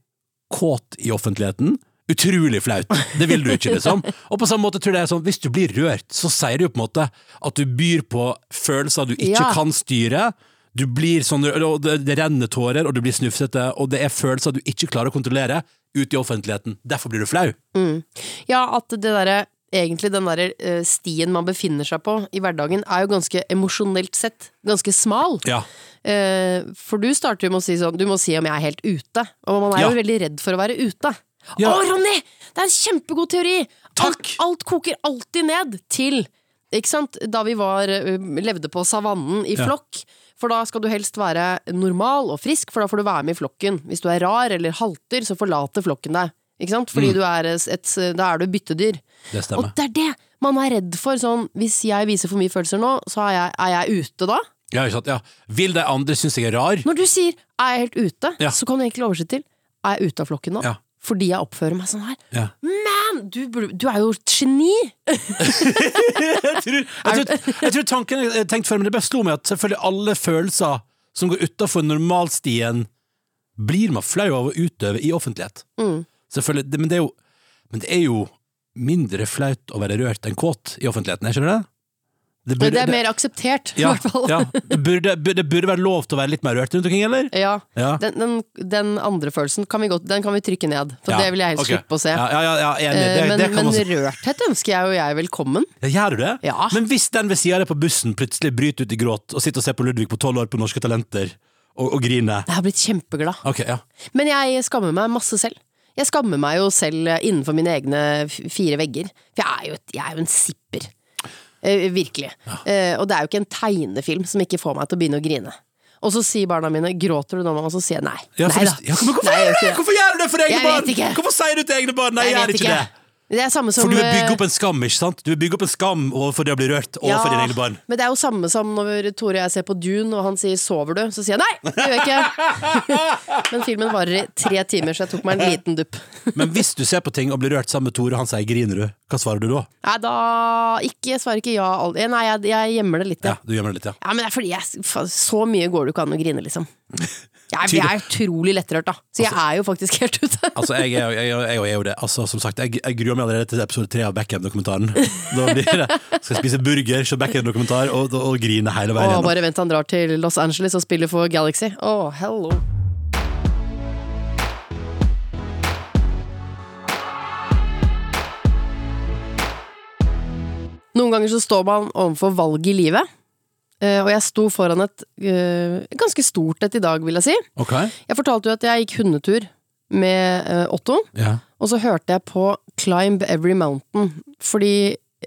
kåt i offentligheten, utrolig flaut. Det vil du ikke, liksom. Og på samme måte tror jeg det er sånn, hvis du blir rørt, så sier du jo på en måte at du byr på følelser du ikke
Ja.
kan styre. Du blir sånn, og det, det renner tårer, og du blir snufsete, og det er følelser du ikke klarer å kontrollere ut i offentligheten. Derfor blir du flau.
Ja, at det derre Egentlig den der eh, stien man befinner seg på i hverdagen, er jo ganske emosjonelt sett ganske smal.
Ja.
Eh, for du starter jo med å si sånn Du må si om jeg er helt ute. Og man er
Ja.
jo veldig redd for å være ute.
Ja.
Å, Ronny! Det er en kjempegod teori!
Takk!
Alt, alt koker alltid ned til ikke sant? Da vi var, eh, levde på savannen i
Ja.
flokk. For da skal du helst være normal og frisk, for da får du være med i flokken. Hvis du er rar eller halter, så forlater flokken deg. Ikke sant? Fordi du er eh, et, et, da er du byttedyr.
Det Mm. stemmer.
Og det er det man er redd for. Sånn, hvis jeg viser for mye følelser nå, så er jeg, er jeg ute da.
Ja, ikke sant? Ja. Vil de andre synes jeg er rar?
Når du sier 'er jeg helt ute',
Ja.
så kan du egentlig oversette til 'er jeg ute av flokken nå'?
Ja.
Fordi jeg oppfører meg sånn her.
Ja.
Man, du, burde- du er jo et geni!
Jeg tror, jeg tror, jeg tror tanken jeg tenkte før, men det bare slo meg at selvfølgelig alle følelser som går utafor normalstien, blir man flau av å utøve i offentlighet.
Mm.
Selvfølgelig, det, men, det er jo, men det er jo mindre flaut å være rørt enn kåt i offentligheten, er ikke det? Det
Men det er mer akseptert, i
ja,
hvert fall.
ja. Det, burde, bu- det burde være lov til å være litt mer rørt rundt omkring, eller?
Ja.
Ja.
Den, den, den andre følelsen kan vi, godt, den kan vi trykke ned, for
Ja,
det vil jeg helst
ok.
slippe å se.
Ja, ja, ja, ja enig.
Eh,
Det,
men
det kan
men
også
rørthet ønsker jeg og jeg velkommen.
Ja, Gjør du det?
Ja.
Men hvis den ved sida av deg på bussen plutselig bryter ut i gråt og sitter og ser på Ludvig på tolv år på Norske Talenter og, og griner
Jeg har blitt kjempeglad.
Ok, ja.
Men jeg skammer meg masse selv. Jeg skammer meg jo selv eh, innenfor mine egne f- fire vegger. For jeg er jo, et, jeg er jo en sipper. Eh, virkelig. Eh, og det er jo ikke en tegnefilm som ikke får meg til å begynne å grine. Og så sier barna mine 'gråter du nå?' mamma?" Og så sier jeg nei.
Ja, for
nei
hvis- ja, men hvorfor,
Nei, jeg
gjør du
gjør
det?
ikke
hvorfor gjør du det for egne
Jeg
barn?
vet ikke.
Hvorfor sier du til egne barn? Nei, jeg
Jeg
gjør
vet
ikke det.
Det er samme som
For du vil bygge
eh,
opp en skam, ikke sant? Du vil bygge opp en skam overfor det å bli rørt overfor dine egne barn.
Men det er jo samme som når Tore og jeg ser på Dune, og han sier 'sover du?' Så sier jeg 'nei, det gjør jeg ikke'. men filmen varer i tre timer, så jeg tok meg en liten dupp.
Men hvis du ser på ting og blir rørt sammen med Tore, og han sier 'griner du', hva svarer du da?
Nei, da ikke, svarer ikke ja. all- eh, Nei, jeg, jeg gjemmer det litt, ja.
Ja, du gjemmer det litt, ja.
ja. Men det er fordi jeg fa- Så mye går det jo ikke an å grine, liksom. Jeg, jeg er utrolig lettrørt, da. Så jeg er jo faktisk helt ute.
Altså, jeg er, jo- jeg, er jo- jeg, er jo det. Altså, som sagt, jeg, jeg gruer meg allerede til episode tre av Backham-dokumentaren. Da blir det Skal jeg spise burger, se Backham-dokumentar og, og, og grine hele veien.
Og
gjennom.
bare vent til han drar til Los Angeles og spiller for Galaxy. Å, hello. Noen ganger så står man overfor valg i livet. Eh, Og jeg sto foran et eh, ganske stort et i dag, vil jeg si.
Ok,
Jeg fortalte jo at jeg gikk hundetur med eh, Otto,
ja.
og så hørte jeg på Climb Every Mountain. Fordi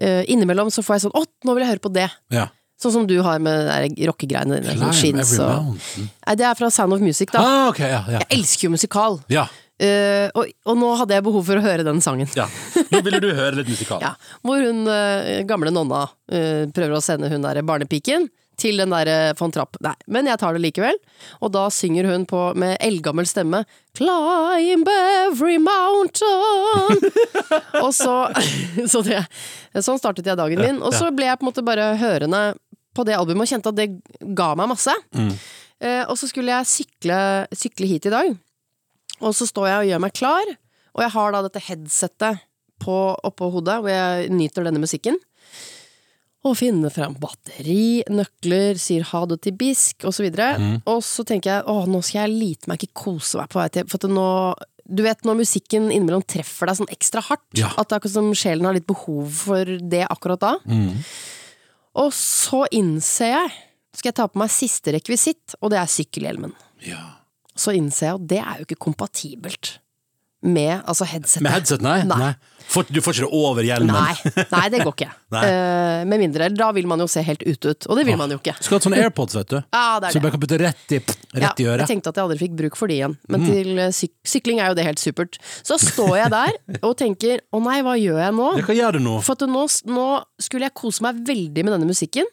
eh, innimellom så får jeg sånn Å, nå vil jeg høre på det!
ja.
Sånn som du har med de der rockegreiene dine. sånn skins og...
mountain.
Nei, det er fra Sound of Music, da.
Ah, ok, ja, ja.
Jeg elsker jo musikal,
ja,
Eh, og, og nå hadde jeg behov for å høre den sangen.
ja. Nå ville du høre litt musikal.
Ja, hvor hun eh, gamle nonna eh, prøver å sende hun der barnepiken til den der eh, von Trapp. Nei, men jeg tar det likevel. Og da synger hun på med eldgammel stemme Climb every mountain! og så, så det, Sånn startet jeg dagen min. Og så ble jeg på en måte bare hørende på det albumet og kjente at det ga meg masse. Eh, og så skulle jeg sykle, sykle hit i dag. Og så står jeg og gjør meg klar, og jeg har da dette headsettet på, oppå hodet, hvor jeg nyter denne musikken. Og finner fram batteri, nøkler, sier ha det til bisk, og så videre. Og så tenker jeg åh, nå skal jeg lite meg ikke kose meg på vei til For at nå Du vet når musikken innimellom treffer deg sånn ekstra hardt,
Ja.
at det er akkurat som sjelen har litt behov for det akkurat da. Og så innser jeg Skal jeg ta på meg siste rekvisitt, og det er sykkelhjelmen
Ja.
så innser jeg at det er jo ikke kompatibelt med altså headsetet.
Med headset, nei?
Nei.
Får- du får ikke det over hjelmen?
Nei, nei, det går ikke.
Nei.
Eh, med mindre. Da vil man jo se helt ute ut, og det vil man jo ikke.
Skal ha sånne AirPods, vet du.
Ja, det
Så du
er det.
bare kan putte rett i, rett i
Ja, jeg
øret. Mm.
tenkte at jeg aldri fikk bruk for de igjen, men til eh, syk sykling er jo det helt supert. Så står jeg der og tenker å nei, hva gjør jeg nå?
Ja, hva gjør du nå?
For at nå, nå skulle jeg kose meg veldig med denne musikken,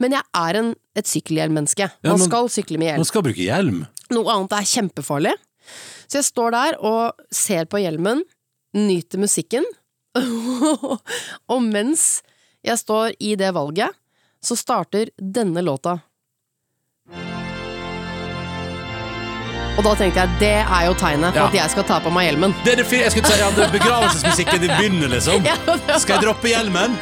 men jeg er en, et sykkelhjelmmenneske.
Ja,
Man
men-
skal sykle med hjelm.
Man skal bruke hjelm.
Noe annet er kjempefarlig. Så jeg står der og ser på hjelmen, nyter musikken, og mens jeg står i det valget, så starter denne låta. Og da tenkte jeg, det er jo tegnet for
Ja.
at jeg skal ta på meg hjelmen.
Det er det fi- jeg skulle si, ja, det er begravelsesmusikken din begynner, liksom. Skal jeg droppe hjelmen?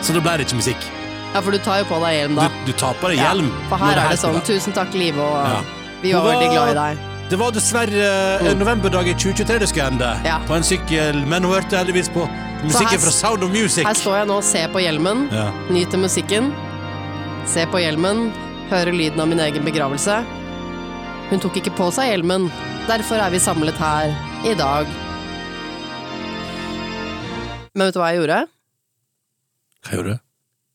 Så da ble det ikke musikk.
Ja, for du tar jo på deg hjelm
Du,
da.
du tar på deg hjelm.
For
når
her er det
skal
sånn,
være.
tusen takk Liv, og
Ja.
vi var veldig glad i deg. Mm.
Det var dessverre eh, novemberdag i 2023 det skulle ende.
Ja.
På en sykkel, men hun hørte heldigvis på musikken
her-
fra Sound of Music.
Her står jeg nå og ser på hjelmen,
Ja.
nyter musikken, ser på hjelmen, hører lyden av min egen begravelse. Hun tok ikke på seg hjelmen, derfor er vi samlet her i dag. Men vet du hva jeg gjorde?
Hva gjorde du?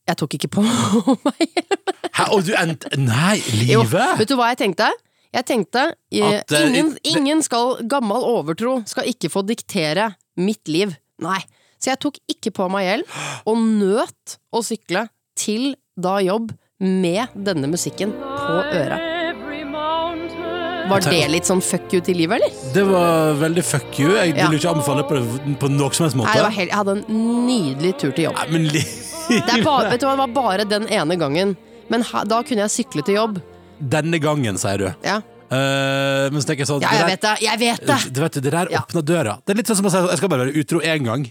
Jeg tok ikke på meg hjelmen.
Hæ, og du endte Nei,
Jo,
livet?
vet du hva jeg tenkte? Jeg tenkte eh,
At, eh,
ingen,
det-
ingen skal, gammel overtro skal ikke få diktere mitt liv. Nei. Så jeg tok ikke på meg hjelm, og nøt å sykle til da jobb med denne musikken på øret. Var det litt sånn fuck you til livet, eller?
Det var veldig fuck you. Jeg
Ja.
ville ikke anbefale på det på noen som helst måte.
Nei, det var helt, jeg hadde en nydelig tur til jobb.
Nei, men li...
Det, er bare, vet du, hva, det var bare den ene gangen, men ha, da kunne jeg sykle til jobb.
Denne gangen, sier du.
Ja,
Eh, men så tenker jeg sånn
ja
det
jeg
der-
vet det! Jeg vet det!
Du vet, det der
Ja.
åpner døra. Det er litt sånn som å si jeg skal bare være utro én gang.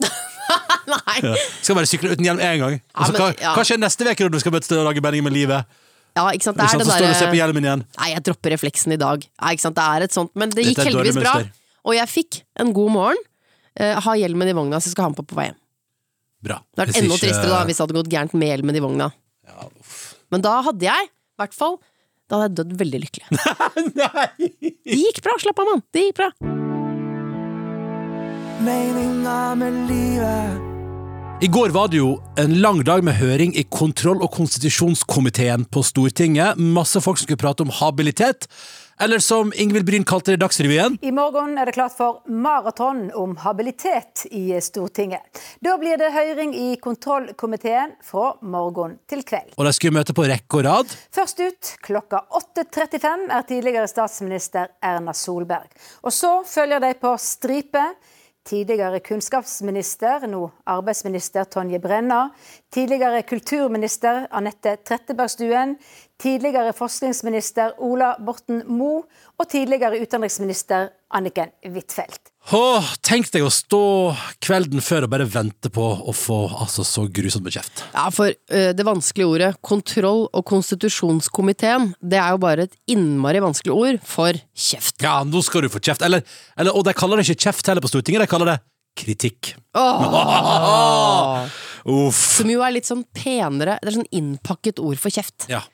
Nei, Nei.
Skal bare sykle uten hjelm én gang. Og så
men-
hva,
ja.
hva skjer neste uke når du skal møtes til å lage melding med livet?
Ja, ikke sant. Det eh,
Ikke sant?
er
Så står du og ser på
det derre
hjelmen igjen.
Nei, jeg dropper refleksen i dag. Nei, ikke sant. Det er et sånt. Men det gikk
Dette er et dårlig
heldigvis bra.
mønster.
Og jeg fikk en god morgen. Eh, ha hjelmen i vogna, så jeg skal ha den på på vei hjem.
Bra.
Det hadde vært enda tristere da hvis det hadde gått gærent med hjelmen i vogna. Men da hadde jeg, i hvert fall, da hadde jeg dødd veldig lykkelig. Det gikk bra, slapp av, mann. Det gikk bra.
Meninga med livet.
I går var det jo en lang dag med høring i kontroll- og konstitusjonskomiteen på Stortinget. Masse folk som skulle prate om habilitet, eller som Ingvild Bryn kalte det i Dagsrevyen.
I morgen er det klart for maraton om habilitet i Stortinget. Da blir det høring i kontrollkomiteen fra morgen til kveld.
Og de skulle møte på rekke og rad.
Først ut klokka 8.35 er tidligere statsminister Erna Solberg. Og så følger de på stripe. Tidligere kunnskapsminister, nå arbeidsminister Tonje Brenna. Tidligere kulturminister Anette Trettebergstuen. Tidligere forskningsminister Ola Borten Moe. Og tidligere utenriksminister Anniken Huitfeldt.
Åh, tenk deg å stå kvelden før og bare vente på å få altså, så grusomt med kjeft.
Ja, for eh, det vanskelige ordet kontroll- og konstitusjonskomiteen, det er jo bare et innmari vanskelig ord for kjeft.
Ja, nå skal du få kjeft. Eller, eller, og de kaller det ikke kjeft heller på Stortinget, de kaller det kritikk. Uff.
Som jo er litt sånn penere, det er sånn innpakket ord for kjeft.
Ja.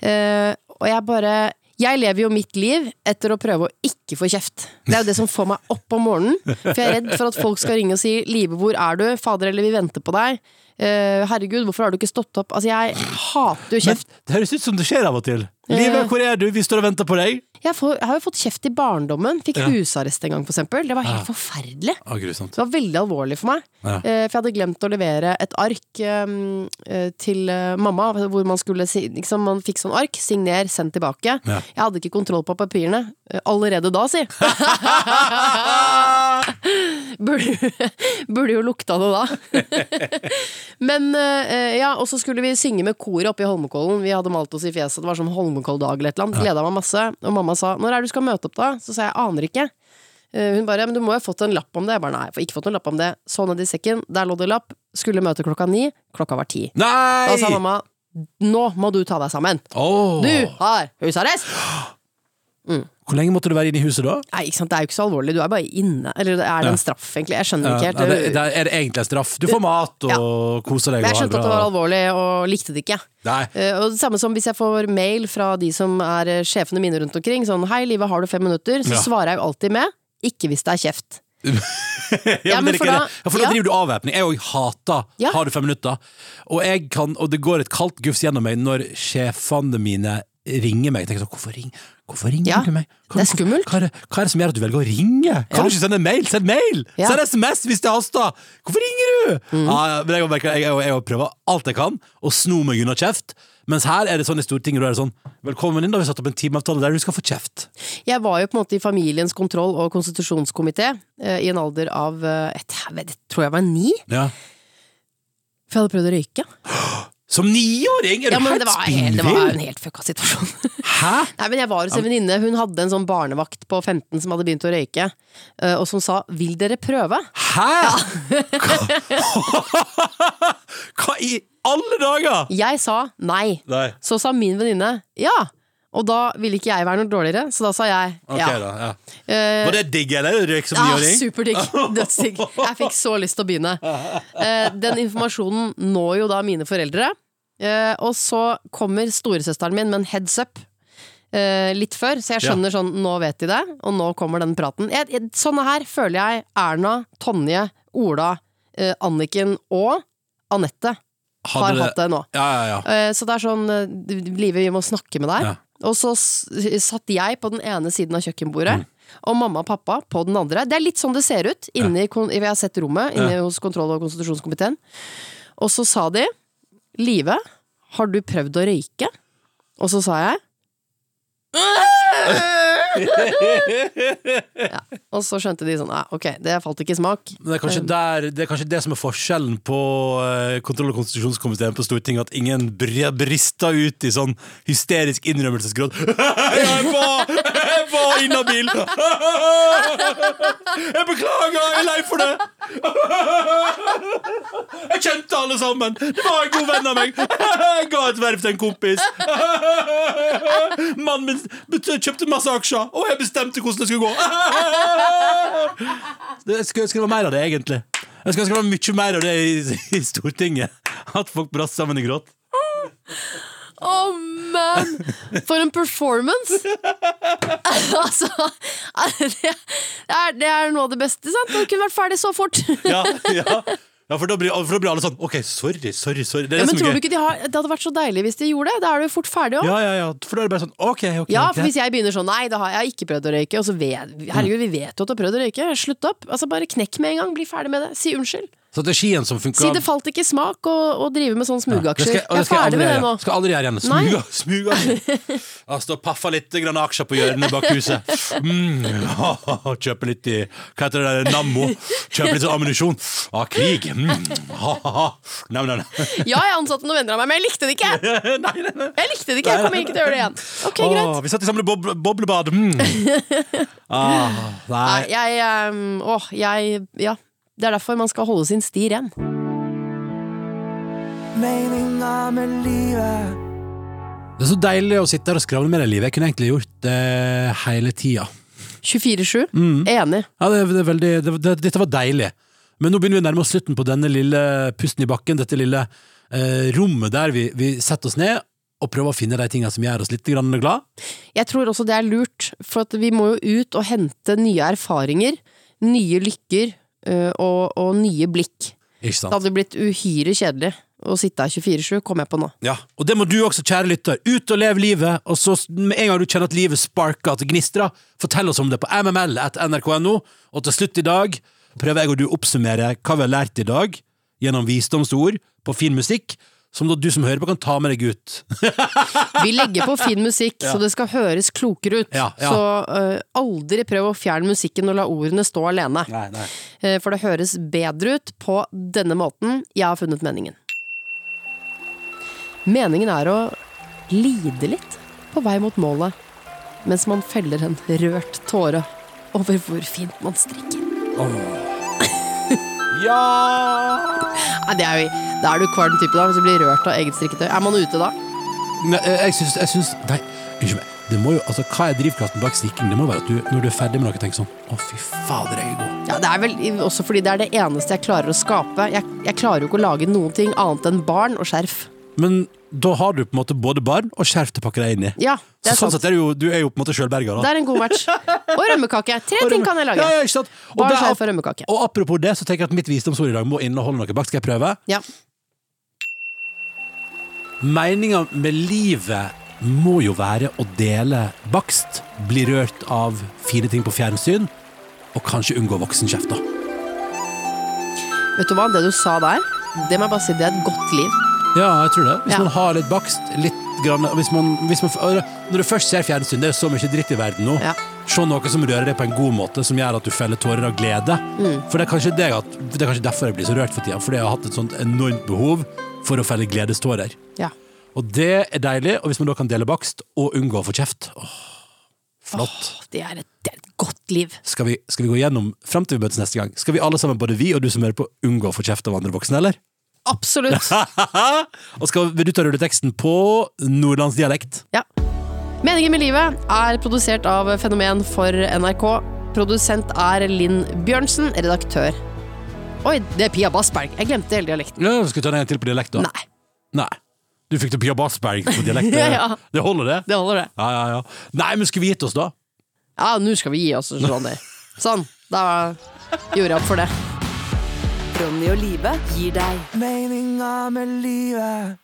Eh, og jeg bare Jeg lever jo mitt liv etter å prøve å ikke få kjeft. Det er jo det som får meg opp om morgenen. For jeg er redd for at folk skal ringe og si 'Live, hvor er du?' 'Fader, eller vi venter på deg'. Eh, 'Herregud, hvorfor har du ikke stått opp?' Altså, jeg hater jo
Men
kjeft.
det høres ut som det skjer av og til. Livet, hvor er du? Vi står og venter på deg.
Jeg, får, jeg har jo fått kjeft i barndommen. Fikk
Ja.
husarrest en gang, for eksempel. Det var helt forferdelig.
Ah, grusomt.
Det var veldig alvorlig for meg.
Ja.
Eh, For jeg hadde glemt å levere et ark eh, eh, til eh, mamma, hvor man skulle si liksom, Man fikk sånn ark, signer, send tilbake.
Ja.
Jeg hadde ikke kontroll på papirene. Eh, Allerede da, si! burde, burde jo lukta det da. Men eh, ja, og så skulle vi synge med koret oppe i Holmenkollen. Vi hadde malt oss i fjeset, det var sånn Holmenkolldag eller et eller annet. Gleda meg masse. Og mamma sa 'når er det du skal møte opp', da? Så sa jeg 'aner ikke'. Eh, Hun bare, men du må jo ha fått en lapp om det. Jeg bare, nei, jeg får ikke fått noen lapp om det. Så ned i sekken, der lå det lapp. Skulle møte klokka ni, klokka var ti.
Nei!
Da sa mamma, nå må du ta deg sammen.
Åh.
Du har husarrest!
Hvor lenge måtte du være inne i huset da?
Nei, ikke sant, det er jo ikke så alvorlig, du er bare inne. Eller er det en straff, egentlig? Jeg skjønner ikke
Ja, det,
helt.
det er det egentlig en straff. Du får mat og koser deg. og
Jeg
har
skjønte at det
bra.
var alvorlig, og likte det ikke.
Nei.
Eh, Og det samme som hvis jeg får mail fra de som er eh, sjefene mine rundt omkring, sånn 'Hei, Live, har du fem minutter?' Så
Ja.
svarer jeg jo alltid med 'Ikke hvis det er kjeft'.
Ja, men det er
men
ikke
for da-
det. ja, for da
ja.
driver du avvæpning. Jeg òg hater
Ja.
'har du fem minutter'? Og, jeg kan, og det går et kaldt gufs gjennom meg når sjefene mine ringer meg. Jeg tenker sånn, hvorfor, ring, hvorfor ringer
Ja,
du meg?
det er skummelt.
Hva, hva, er det, hva er det som gjør at du velger å ringe? Kan
Ja.
du ikke sende en mail? Send mail!
Ja. Mm.
Send SMS hvis det haster! Hvorfor ringer du? Ja, ja, men jeg, merker, jeg, jeg, jeg prøver alt jeg kan å sno meg unna kjeft. Mens her er det sånn i Stortinget, da er det sånn Velkommen inn, da har vi satt opp en timeavtale der du skal få kjeft.
Jeg var jo på en måte i familiens kontroll- og konstitusjonskomité eh, i en alder av eh, et, jeg, vet, jeg tror jeg var ni,
Ja.
for jeg hadde prøvd å røyke.
Som niåring? Er du
Ja, men
helt
det var, helt, det var
spinnvill?
en helt fucka situasjon.
Hæ?
Nei, men jeg var hos en venninne, hun hadde en sånn barnevakt på 15 som hadde begynt å røyke, eh, og som sa 'vil dere prøve'?
Hæ?! Hva? Hva i alle dager?!
Jeg sa nei.
Nei.
Så sa min venninne ja, og da ville ikke jeg være noe dårligere, så da sa jeg
Ok,
ja.
da. Ja.
Eh,
Var det digg, eller? Røyk som
Ah,
niåring?
Superdigg. Dødsdigg. Jeg fikk så lyst til å begynne. Eh, den informasjonen når jo da mine foreldre. Eh, og så kommer storesøsteren min med en heads up. eh, litt før, så jeg skjønner sånn Nå vet de det, og nå kommer den praten. Jeg, jeg, sånne her føler jeg Erna, Tonje, Ola, eh, Anniken og Anette har
Hadde det-
hatt det nå.
Ja, ja, ja.
Eh, Så det er sånn eh, du- Live, vi må snakke med deg.
Ja.
Og så s- satt jeg på den ene siden av kjøkkenbordet,
Mm.
og mamma og pappa på den andre. Det er litt sånn det ser ut. Inni, kon- Jeg har sett rommet inne hos kontroll- og konstitusjonskomiteen. Og så sa de Live, har du prøvd å røyke? Og så sa jeg ja. Og så skjønte de sånn «Nei, Ok, det falt ikke i smak.
Men det er, kanskje der, det er kanskje det som er forskjellen på eh, kontroll- og konstitusjonskomiteen på Stortinget, at ingen br brister ut i sånn hysterisk innrømmelsesgråt. Jeg var, jeg var inhabil! Jeg beklager, jeg er lei for det! Jeg kjente alle sammen! Det var en god venn av meg! Jeg ga et verv til en kompis. Mannen min bet- kjøpte masse aksjer, og jeg bestemte hvordan det skulle gå. Det- Jeg skulle ønske det var mer av det, egentlig. Jeg skulle ønske det var mye mer av det i, i Stortinget. At folk brast sammen i gråt.
Å, man! For en performance! altså, det er, det er noe av det beste, sant? Det kunne vært ferdig så fort. ja,
Ja, ja. ja for, da blir, for da blir alle sånn OK, sorry, sorry, sorry. Det er
men
det som
tror
er
du
gøy.
ikke de har, Det hadde vært så deilig hvis de gjorde det. Da er du fort ferdig òg.
Ja, ja, ja. For da er det bare sånn OK, OK.
Ja,
ok.
for hvis jeg begynner sånn Nei, det har jeg ikke prøvd å røyke. Og så vet, herregud, vi vet jo at du har prøvd å røyke. Slutt opp. Altså, bare knekk med en gang. Bli ferdig med det. Si unnskyld.
Strategien som funker
Si det falt ikke i smak å å drive med sånn
Det
smugaksjer.
skal, og
Jeg
det
er
skal jeg
ferdig
aldri
med det
gjøre.
nå.
Skal aldri gjøre igjen.
Nei.
Smuga, smuga. Ja, Stå og paffa litt grann aksjer på hjørnet bak huset. Mm. Kjøpe litt i Hva heter det der? Nammo? Kjøpe litt sånn ammunisjon. Ah, krig. Mm. Ha, ha, ha. Nei, nei, nei.
Ja, jeg ansatte noen venner av meg, men jeg likte det ikke! Jeg likte det ikke, jeg kommer ikke til å gjøre det igjen. Ok, greit.
Åh, vi satt i samme bob boblebad. Mm. Ah,
Nei,
nei.
jeg ehm, Åh, jeg Ja. Det er derfor man skal holde sin sti ren.
Meninga med livet.
Det er så deilig å sitte her og skravle med det livet. Jeg kunne egentlig gjort det hele tida.
24-7.
Mm.
Enig.
Ja, det, det er veldig, det, det, dette var deilig. Men nå begynner vi å nærme oss slutten på denne lille pusten i bakken, dette lille eh, rommet der vi, vi setter oss ned og prøver å finne de tingene som gjør oss litt grann glad.
Jeg tror også det er lurt, for at vi må jo ut og hente nye erfaringer, nye lykker øh, og, og nye blikk.
Ikke
Det
sant?
hadde blitt uhyre kjedelig å sitte her 24-7, kom jeg på nå.
Ja, Og det må du også, kjære lytter. Ut og lev livet, og så s- med en gang du kjenner at livet sparker, at det gnistrer, fortell oss om det på mml etter nrk.no. Og til slutt i dag prøver jeg og du å oppsummere hva vi har lært i dag, gjennom visdomsord på fin musikk, som da du som hører på kan ta med deg ut.
Vi legger på fin musikk, så det skal høres klokere ut.
Ja, ja.
Så øh, aldri prøv å fjerne musikken og la ordene stå alene.
Nei, nei.
Eh, For det høres bedre ut på denne måten. Jeg har funnet meningen. Meningen er å lide litt på vei mot målet, mens man feller en rørt tåre over hvor fint man strikker.
Ja!
Nei, det er jo, da er du kvalm type, da, hvis du blir rørt av eget strikketøy. Er man ute da?
Nei, jeg jeg syns, jeg syns Nei, unnskyld meg. Det må jo, altså, hva er drivkraften bak strikking? Det må være at du, når du er ferdig med noe, tenker sånn Å, fy fader, jeg er god.
Ja, Det er vel også fordi det er det eneste jeg klarer å skape. Jeg, jeg klarer jo ikke å lage noen ting annet enn barn og skjerf.
Men da har du på en måte både barn og skjerf til å pakke deg inn i.
Ja, det
Så
er
sånn
sant.
sett er du jo, du er jo på en måte sjølberga,
Det
da.
er en god match. Og rømmekake. Tre ting kan jeg lage.
Ja, ja, ikke sant? Og,
Barn,
det er-
skjerf og rømmekake.
og apropos det, så tenker jeg at mitt visdomsord i dag må inneholde noe bak. Skal jeg prøve?
Ja.
Meninga med livet må jo være å dele bakst, bli rørt av fine ting på fjernsyn, og kanskje unngå voksenkjefter.
Vet du hva, det du sa der, det må jeg bare si, det er et godt liv.
Ja, jeg tror det. Hvis
Ja.
man har litt bakst, litt grann, hvis man, hvis man, Når du først ser fjernsyn, det er så mye dritt i verden nå.
Ja.
Se noe som rører deg på en god måte, som gjør at du feller tårer av glede.
Mm.
For det er, kanskje det, at, det er kanskje derfor jeg blir så rørt for tida, fordi jeg har hatt et sånt enormt behov for å felle gledestårer.
Ja.
Og det er deilig, og hvis man da kan dele bakst og unngå å få kjeft åh, Flott.
Det er et, det er et godt liv.
Skal, vi, skal vi gå gjennom fram til vi møtes neste gang? Skal vi alle sammen, både vi og du som hører på, unngå å få kjeft av andre voksne, eller?
Absolutt.
og skal, vil du ta rulleteksten på nordlandsdialekt?
Ja. Meningen med livet er produsert av Fenomen for NRK. Produsent er Linn Bjørnsen, redaktør. Oi, det er Pia Bassberg. Jeg glemte hele dialekten.
Ja, Skal vi ta den en til på dialekt, da?
Nei,
Nei. Du fikk det Pia Bassberg på dialekt? eh.
Ja, ja.
Det holder, det?
det holder det.
Ja, ja, ja. Nei, men skulle vi gitt oss, da?
Ja, nå skal vi gi oss sånn der. Sånn, da gjorde jeg opp for det.
Ronny og Live gir deg
Meninga med livet.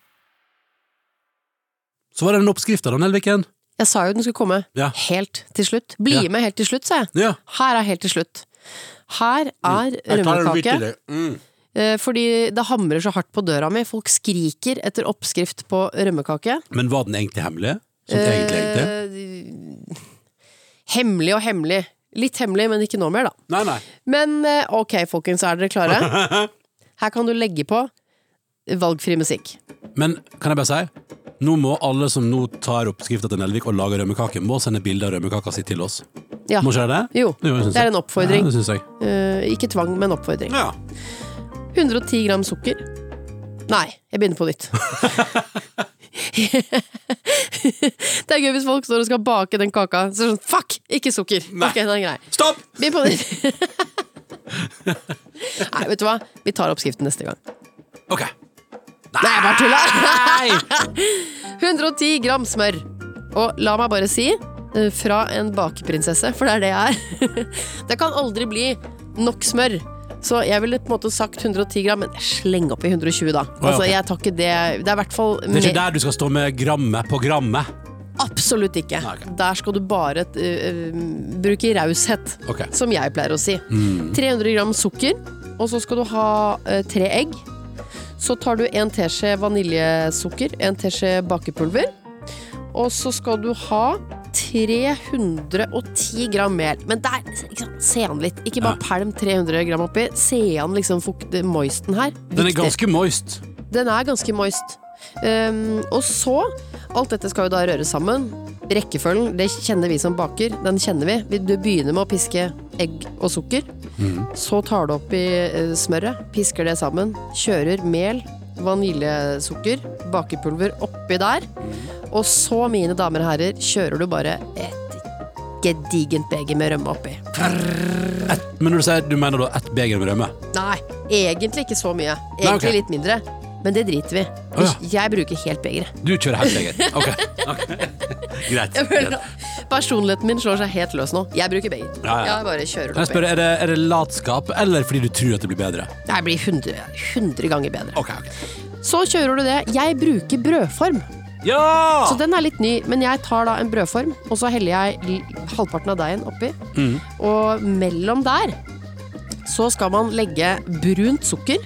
Så var det den oppskrifta, da, Nelviken.
Jeg sa jo den skulle komme
Ja.
helt til slutt. Bli
Ja.
med helt til slutt, sa jeg.
Ja.
Her er helt til slutt.
Mm.
Her er rømmekake. Eh, Fordi det hamrer så hardt på døra mi. Folk skriker etter oppskrift på rømmekake.
Men var den egentlig hemmelig? Sånn egentlig, egentlig?
Eh, Hemmelig og hemmelig. Litt hemmelig, men ikke nå mer, da.
Nei, nei.
Men eh, ok, folkens, er dere klare? Her kan du legge på valgfri musikk.
Men kan jeg bare si, nå må alle som nå tar oppskrifta til Nelvik og lager rømmekake, må sende bilde av rømmekaka si til oss.
Ja.
Må ikke det det?
Jo,
jeg synes
det er en oppfordring.
Ja, det syns jeg.
Eh, ikke tvang, men oppfordring.
Ja.
110 gram sukker. Nei, jeg begynner på nytt. det er gøy hvis folk står og skal bake den kaka, så er det sånn fuck, ikke sukker!
Nei.
Ok, den er grei.
Stopp!
Begynn på nytt. Nei, vet du hva? Vi tar oppskriften neste gang.
OK.
Nei, jeg bare tulla! 110 gram smør. Og la meg bare si, eh, fra en bakeprinsesse, for det er det jeg er Det kan aldri bli nok smør. Så jeg ville på en måte sagt 110 gram, men sleng oppi 120, da.
ja,
Altså,
ok.
jeg tar ikke det Det er i hvert fall
Det er ikke
mer-
der du skal stå med grammet på grammet.
Absolutt ikke.
Nei, ok.
Der skal du bare eh, eh, bruke raushet,
Ok.
som jeg pleier å si.
Mm.
300 gram sukker, og så skal du ha eh, tre egg. Så tar du en teskje vaniljesukker, en teskje bakepulver, og så skal du ha 310 gram mel. Men der, ikke sant, se an litt. Ikke bare pælm 300 gram oppi. Se an liksom fukt, moisten her.
Den er
Viktig.
ganske moist.
Den er ganske moist. Ehm, og så Alt dette skal jo da røres sammen. Rekkefølgen det kjenner vi som baker. Den kjenner vi. Vi- Du begynner med å piske egg og sukker.
Mhm.
Så tar du oppi eh, smøret, pisker det sammen. Kjører mel, vaniljesukker, bakepulver oppi der.
Mhm.
Og så, mine damer og herrer, kjører du bare et gedigent beger med rømme oppi.
Men når du sier du mener da ett beger med rømme?
Nei, egentlig ikke så mye. Egentlig
Nei, ok.
litt mindre. Men det driter vi. i.
Å,
Jeg bruker helt begeret.
Du kjører helt beger. OK. ok. Greit.
Jeg føler at Personligheten min slår seg helt løs nå. Jeg bruker begge.
Ja, ja.
Jeg bare kjører
Kan jeg
det
spørre,
opp. i.
er det, er det latskap eller fordi du tror at det blir bedre?
Det blir 100, 100 ganger bedre.
Ok, ok
Så kjører du det. Jeg bruker brødform.
Ja!
Så den er litt ny, men jeg tar da en brødform, og så heller jeg l- halvparten av deigen oppi.
Mm.
Og mellom der så skal man legge brunt sukker.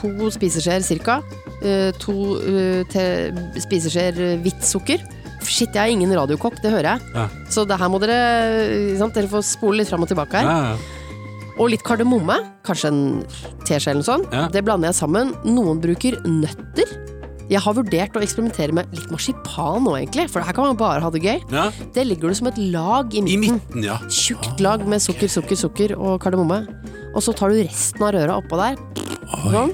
To spiseskjeer cirka. eh, To eh, te- spiseskjeer eh, hvitt sukker. Shit, jeg er ingen radiokokk, det hører jeg.
Ja.
Så det her må dere eh, ikke sant? Dere får spole litt fram og tilbake her.
Ja, ja.
Og litt kardemomme, kanskje en teskje eller noe sånt.
Ja.
Det blander jeg sammen. Noen bruker nøtter. Jeg har vurdert å eksperimentere med litt marsipan nå, egentlig, for her kan man bare ha det gøy.
Ja.
Det ligger du som et lag i
I
midten. Ah,
midten, ja.
Tjukt lag med sukker, sukker, sukker og kardemomme. Og så tar du resten av røra oppå der. Sånn.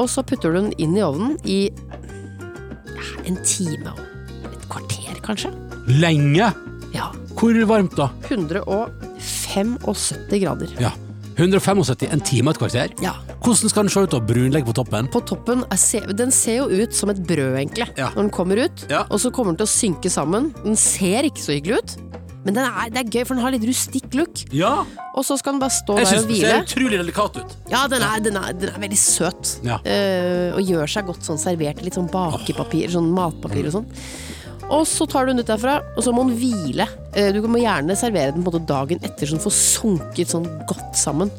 Og så putter du den inn i ovnen i ja, en time og et kvarter, kanskje.
Lenge?
Ja.
Hvor varmt, da?
175 grader.
Ja. 175, en time og et kvarter?
Ja.
Hvordan skal den se ut av brunlegg på toppen?
på toppen er, se- Den ser jo ut som et brød, egentlig,
Ja.
når den kommer ut.
Ja.
Og så kommer den til å synke sammen. Den ser ikke så hyggelig ut, men den er, det er gøy, for den har litt rustikk look.
Ja,
Og så skal den bare stå
jeg
der
syns
og
det ser
hvile.
utrolig delikat ut.
Ja, den er, den er, den er veldig søt.
Ja.
Eh, og gjør seg godt sånn servert i litt sånn bakepapir, sånn matpapir og sånn. Og så tar du den ut derfra, og så må den hvile. Eh, du må gjerne servere den på en måte dagen etter, så den får sunket sånn godt sammen.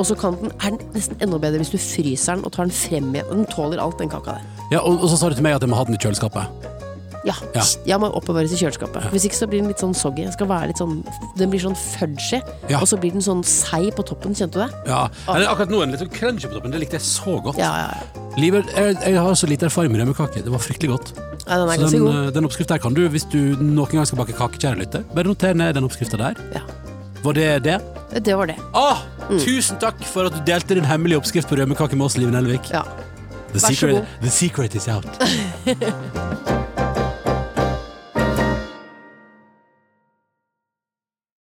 Og så kan den, er den nesten enda bedre hvis du fryser den og tar den frem igjen. Den tåler alt, den kaka der.
Ja, og, og så sa du til meg at jeg må ha den i kjøleskapet.
Ja,
Ja.
Jeg må oppbevares i kjøleskapet. Hvis ikke så blir den litt sånn soggy. Den, skal være litt sånn, den blir sånn fudgy,
Ja.
og så blir den sånn seig på toppen. Kjente du det?
Ja, Eller akkurat nå er den litt sånn crunchy på toppen. Det likte jeg så godt.
Ah. Ja, ja, ja.
Livet, jeg, jeg har så lite erfaring med rømmekake. Det var fryktelig godt.
ja den er
så
ganske
den,
god.
eh, den oppskriften der kan du, hvis du noen gang skal bake kake, kjære lytter, bare noter ned den oppskriften der.
Ja.
Var det det?
Det var det.
Åh,
Mm.
Tusen takk for at du delte din hemmelige oppskrift på rømmekake med oss, Liven Elvik.
Ja.
The
Vær så
secret,
god.
the secret is out.